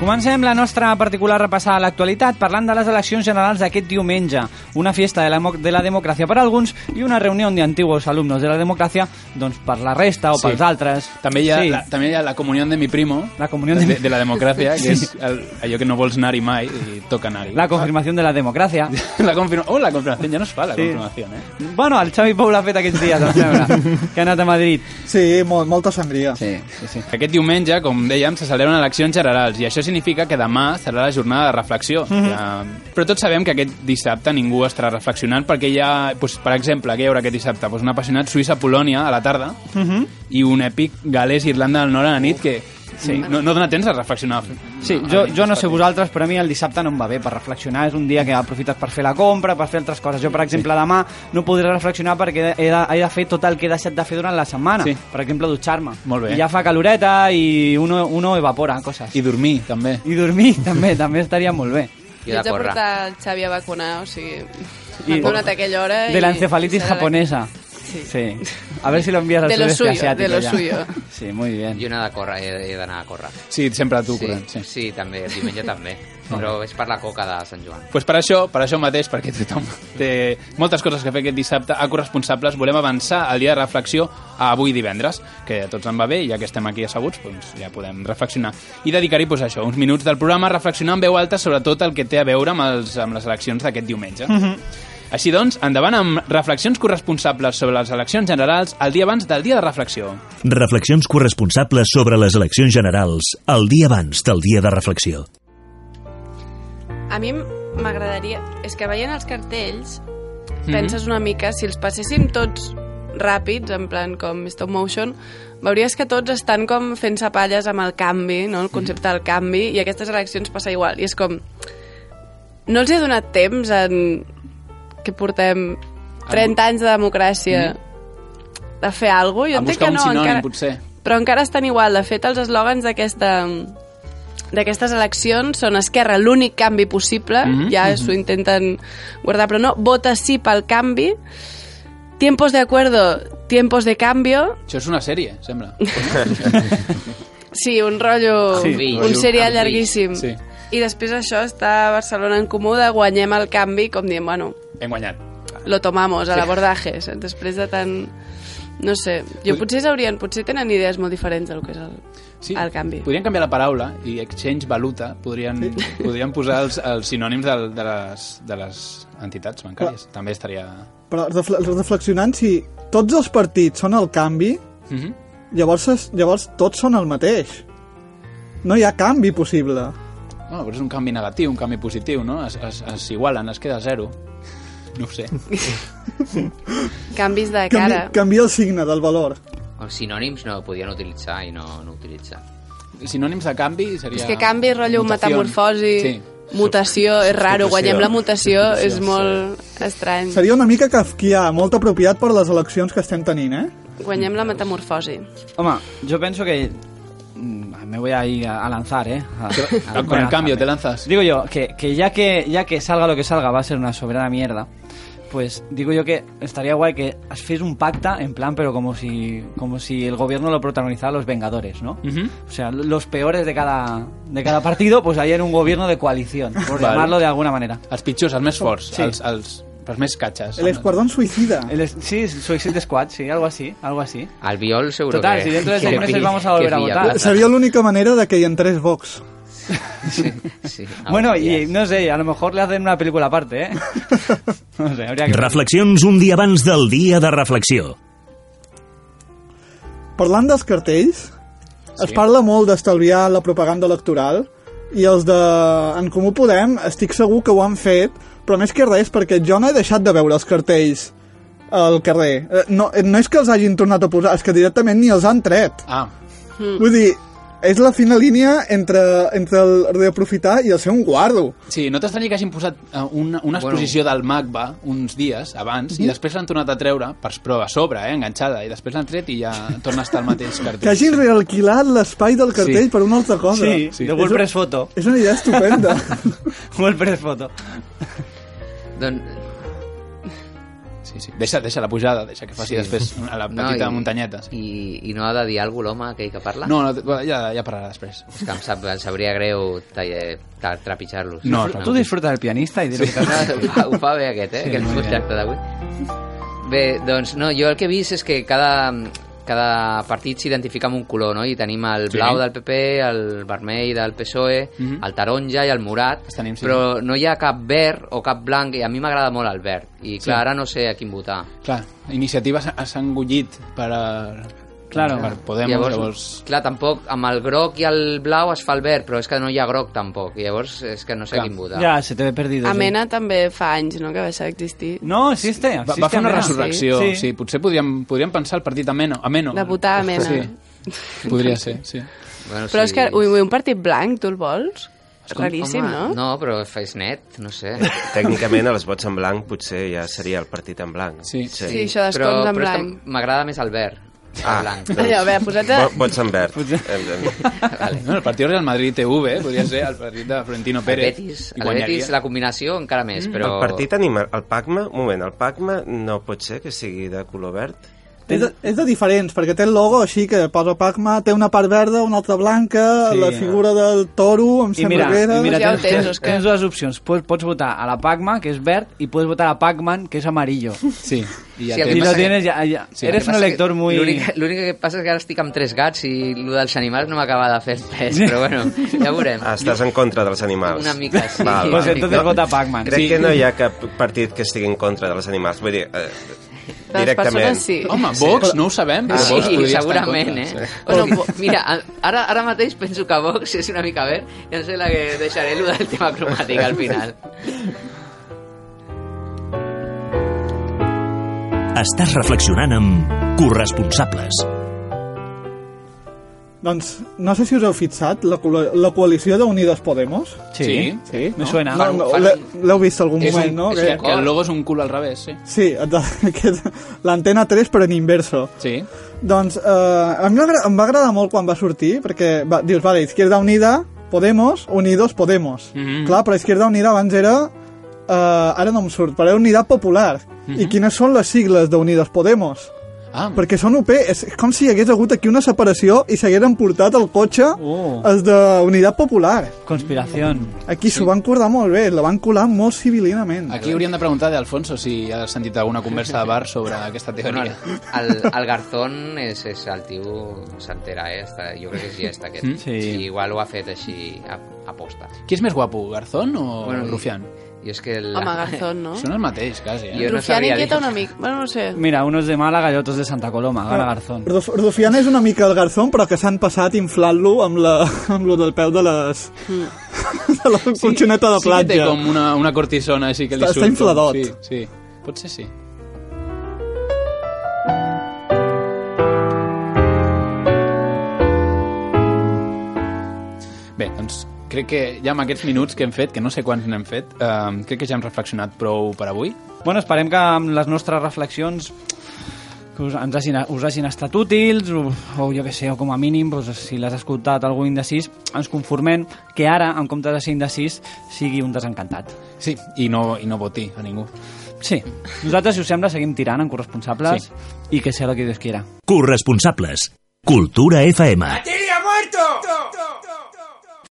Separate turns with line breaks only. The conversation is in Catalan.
Comencem la nostra particular repassar a l'actualitat parlant de les eleccions generals d'aquest diumenge. Una fiesta de la, mo- de la democràcia per a alguns i una reunió de antiguos alumnos de la democràcia doncs, per la resta o
Sí.
pels altres.
També hi, ha,
Sí.
la, també hi ha la comunión de mi primo,
La comunión de mi-
de, de la democràcia, que és el, allò que no vols anar-hi mai i toca anar-hi.
La confirmació de la democràcia.
la confirmació. Oh, la confirmació, ja no es fa, la
Sí.
confirmació, eh?
Bueno, el Xavi Pou l'ha fet aquests dies, em sembla, que ha anat a Madrid.
Sí, molt, molta sangria.
Sí, sí, sí. Aquest diumenge, com dèiem, se celebren eleccions generals i això significa que demà serà la jornada de reflexió.
Mhm.
Mm -hmm. Però tots sabem que aquest dissabte ningú estarà reflexionant perquè hi ha, doncs, per exemple, què hi haurà aquest dissabte? Doncs un apassionat Suïssa-Polònia a la tarda mm
Mhm.
-hmm. i un èpic galès-Irlanda del Nord a la nit que sí. no, no dona temps a reflexionar.
Sí,
No,
jo,
a-
jo no sé vosaltres, però a mi el dissabte no em va bé per reflexionar. És un dia que aprofites per fer la compra, per fer altres coses. Jo, per exemple, demà no podré reflexionar perquè he de, he de fer tot el que he deixat de fer durant la setmana.
Sí.
Per exemple, dutxar-me.
Molt bé.
I ja fa caloreta i uno, uno evapora coses.
I
I,
dormir, també.
I dormir també, també estaria molt bé.
Jo
Jo
de
haig de
córrer.
portar el Xavi a vacunar, o sigui...
I-
M'han donat aquella hora i...
De l'encefalitis
serà la-
japonesa.
Sí.
Sí. A ver si lo envías al
De lo
sudeste
suyo,
asiático
de lo
ya.
suyo.
Sí, muy bien.
Jo he d'anar a córrer, he, he d'anar a córrer.
Sí, sempre tu,
Sí.
sí. Corrent, sí.
Sí, també, el diumenge també. Però és per la coca de Sant Joan.
pues per això, per això mateix, perquè tothom té moltes coses que fer aquest dissabte a corresponsables, volem avançar el dia de reflexió a avui divendres, que a tots en va bé, i ja que estem aquí asseguts, doncs ja podem reflexionar. I dedicar-hi pues, això, uns minuts del programa a reflexionar en veu alta sobre tot el que té a veure amb, els, amb les eleccions d'aquest diumenge. Mm
Mhm.
-hmm. Així doncs, endavant amb reflexions corresponsables sobre les eleccions generals el dia abans del dia de reflexió.
Reflexions corresponsables sobre les eleccions generals el dia abans del dia de reflexió.
A mi m'agradaria... És que veient els cartells, penses una mica, si els passéssim tots ràpids, en plan com stop motion, veuries que tots estan com fent-se palles amb el canvi, no? el concepte del canvi, i aquestes eleccions passa igual. I és com... No els he donat temps en... que portem 30 anys de democràcia de fer
Mm. a
alguna cosa. Jo entenc
buscar
que
un
no,
sinònim,
encara...
potser.
però encara estan igual. De fet, els eslògans d'aquesta d'aquestes eleccions són Esquerra l'únic canvi possible,
Mhm,
ja s'ho intenten guardar, però no, vota sí pel canvi, tiempos de acuerdo, tiempos de cambio,
Això és una sèrie, sembla.
sí, un rotllo,
Sí,
sí, un
rotllo
serial
canvi.
llarguíssim.
Sí.
I després això està a Barcelona en comú de guanyem el canvi, com diem, bueno,
Hem guanyat.
lo tomamos, al abordatge, saps? després de tant... No sé, jo potser s'haurien, potser tenen idees molt diferents del que és el, el canvi.
Podrien canviar la paraula i exchange valuta, podrien, sí. podrien posar els, els sinònims de, de, les, de les entitats bancàries. També estaria...
Però refle- reflexionant, si tots els partits són el canvi,
Mm -hmm.
llavors, es- llavors tots són el mateix. No hi ha canvi possible.
Bueno, però és un canvi negatiu, un canvi positiu, no? Es, es, es igualen, es queda zero. No ho sé.
Canvis de
Canvi,
cara.
canvia el signe del valor.
Els sinònims no podien utilitzar i no, no utilitzar.
Sinònims de canvi seria...
És que canvi, rotllo
mutación.
metamorfosi,
Sí.
mutació, és raro,
Substitució.
guanyem la mutació, és
Substitució,
molt estrany.
Seria una mica kafkià, molt apropiat per les eleccions que estem tenint, eh?
Guanyem la metamorfosi.
Home, yo pienso que... mm, Me voy a ir a a lanzar, ¿eh? A- a-
Con
voy a
el
lanzarme.
cambio te lanzas.
Digo yo, que, que ya que ya que salga lo que salga va a ser una soberana mierda, pues digo yo que estaría guay que haces un pacta en plan, pero como si como si el gobierno lo protagonizara los Vengadores, ¿no?
Ujú.
O sea, los peores de cada de cada partido, pues ahí en un gobierno de coalición, por
Vale.
llamarlo de alguna manera.
Els pitjors, els més forts,
Sí.
sí. els, els, els més catxes.
El esquadrón suicida.
El es- sí, Suicide Squad, sí, algo así, algo así.
Al Biol seguro
Total,
que...
si dentro de seis
que
meses
pilla-
vamos a
que
volver a
pilla
votar.
plaza.
Seria l'única manera de que hi entrés Vox.
Sí, sí.
Bueno,
Algun dia.
y no sé, a lo mejor le hacen una película aparte, ¿eh? No sé, habría que
Reflexions un dia abans del dia de reflexió.
Parlant dels cartells, es parla molt d'estalviar la propaganda electoral i els de En Comú Podem estic segur que ho han fet, però més que res perquè jo no he deixat de veure els cartells al carrer. Eh, No, eh, no és que els hagin tornat a posar, és que directament ni els han tret.
Ah,
Mm. Vull dir, és la fina línia entre, entre el reaprofitar i el ser un guardo.
Sí, no t'estranyi que hagin posat eh, una, una exposició del MACBA uns dies abans i després l'han tornat a treure per però a sobre, eh, enganxada, i després l'han tret i ja torna a estar al mateix
Que
cartell.
hagin realquilat l'espai del cartell
Sí.
sí. per una altra cosa.
Sí, de WordPress Photo.
És una idea estupenda.
WordPress Photo.
Doncs...
Sí. sí, sí. Deixa, deixa la pujada, deixa que faci
Sí.
després a la petita no, muntanyeta. Sí.
I, I no ha de dir algú l'home aquell que parla?
No, no, ja, ja parlarà després.
És que em, sap, em sabria greu ta- eh, ta- trepitjar-los.
No,
Tú disfruta del pianista y dile que te-
Ah, ho fa bé aquest, eh?
Sí,
Sí, aquest
molt bé.
subjecte d'avui. Bé, doncs, no, jo el que he vist és que cada, cada partit s'identifica amb un color, no? I tenim el
Sí.
blau del PP, el vermell del PSOE,
Mhm.
E, el taronja i el morat,
Els tenim, sí.
però no hi ha cap verd o cap blanc, i a mi m'agrada molt el verd. I clar,
Sí.
ara no sé a quin votar.
Clar, iniciativa s'ha s'ha engullit per a...
Claro.
Per Podemos, llavors... llavors...
Clar, tampoc, amb el groc i el blau es fa el verd, però és que no hi ha groc tampoc, i llavors és que no sé
Clar.
a quin votar.
Ya, se te he perdido. sí.
Amena també fa anys, no?, que va deixar d'existir.
No, existe.
Va,
existe
va fer una
Amena.
resurrecció,
Sí.
sí. sí. Potser podríem, podríem pensar el partit ameno. ameno.
De votar Amena.
Sí, podria ser, sí.
Bueno,
Però és que,
sí.
ui, ui, un partit blanc, tu el vols? És raríssim,
Home,
no?
No, però és net, no sé.
Tècnicament, els vots en blanc potser ja seria el partit en blanc.
Sí.
Sí, això d'escons
però és
en
que
blanc.
M'agrada més el verd, el
Ah.
blanc.
Doncs-
Allò, a veure, posats a...
Vo- Vots en verd. Em- em-
Vale.
No, el partit Real Madrid TV, eh? podria ser el partit de Florentino
El
Pérez.
Betis,
I
el
guanyaria.
Betis, la combinació encara
Mm.
més, però...
El partit animal... El PACMA... Un moment, el PACMA no pot ser que sigui de color verd?
És de, és de diferents, perquè té el logo així que posa Pac-Man, té una part verda, una altra blanca,
Sí.
sí, la figura del toro, em
I
sembla
mira,
que era...
i mira
Ja ho
tens,
tens,
tens,
Òscar.
tens dues opcions. Pots, pots votar a la Pac-Man, que és verd, i puedes votar a Pac-Man, que és amarillo.
Sí, i ja
Sí, el
té...
que
Y
pasa
lo
que-
tienes ya... ya- Eres
Sí,
El que
un
passa
elector
que
muy...
L'únic l'únic que passa és que ara estic amb tres gats i el dels animals no m'acaba de fer el pes, però bueno, ja veurem.
Ah, estàs en contra dels animals.
Una mica, sí.
Val,
Pues
val.
entonces vota Pac-Man.
Crec
Sí.
que no hi ha cap partit que estigui en contra dels animals. Vull dir, eh,
De les
directament.
persones sí.
Home, Vox, no ho sabem, però Vox
Sí,
podria estar en
segurament,
contra,
eh?
sí.
Bueno, bo- mira, a- ara, ara mateix penso que Vox és una mica verd i em sembla que deixaré el del tema cromàtic al final.
Estàs reflexionant amb corresponsables.
Doncs no sé si us heu fixat, la, colo- la coalició d'Unides Podemos...
Sí.
Sí.
Sí,
Me suena.
No, no, l'he- L'heu vist algun
És
moment,
un,
no?
és
Que-
que, que el logo és un cul al revés, sí.
Sí, exacte, que és l'antena 3 però en inverso.
Sí,
Doncs eh, a mi m'agra- em va agradar molt quan va sortir, perquè va, dius, vale, Izquierda Unida, Podemos, Unidos, Podemos.
Mhm.
Clar, però Izquierda Unida abans era... Eh, ara no em surt, però era Unidad Popular. I quines són les sigles d'Unidos Podemos?
Ah,
Perquè són UP, és com si hi hagués hagut aquí una separació i s'hagueren portat el cotxe
Oh.
els d'Unitat Popular.
Conspiración.
Aquí s'ho van cordar molt bé, la van colar molt civilinament.
aquí hauríem de preguntar d'Alfonso si ha sentit alguna conversa de bar sobre aquesta
Bueno,
teoria.
el, el Garzón és, és el tio s'entera, eh? Està, jo crec que és gest aquest.
Mm?
Sí.
I igual ho ha fet així a, a posta.
Qui és més guapo, Garzón o bueno,
i-
Rufián?
I és que... La...
Home, Garzón, no?
Són el mateix, quasi, eh?
Jo no
Rufián
sabria
inquieta
dir.
un amic. Bueno, no sé.
Mira, unos de Málaga y otros de Santa Coloma. Gana Garzón.
Ruf- Rufián és una mica el garzón, però que s'han passat inflant-lo amb, la, amb lo del peu de les... de tota la colxoneta de
Hmm. Sí que té
platja.
com una, una cortisona així que li
Està-
surt.
està infladot.
Sí, sí. Potser sí. Bé, doncs crec que ja amb aquests minuts que hem fet, que no sé quants n'hem fet, eh, crec que ja hem reflexionat prou per avui.
Bueno, esperem que amb les nostres reflexions que us, ens hagin, us hagin estat útils o, o jo que sé, o com a mínim doncs, si l'has escoltat algú indecís ens conformem que ara, en comptes de ser indecís sigui un desencantat
Sí, i no, i no voti a ningú.
Sí, nosaltres si us sembla seguim tirant en corresponsables i que sea lo que Dios quiera
Corresponsables. Cultura FM.
¡Atilio ha muerto!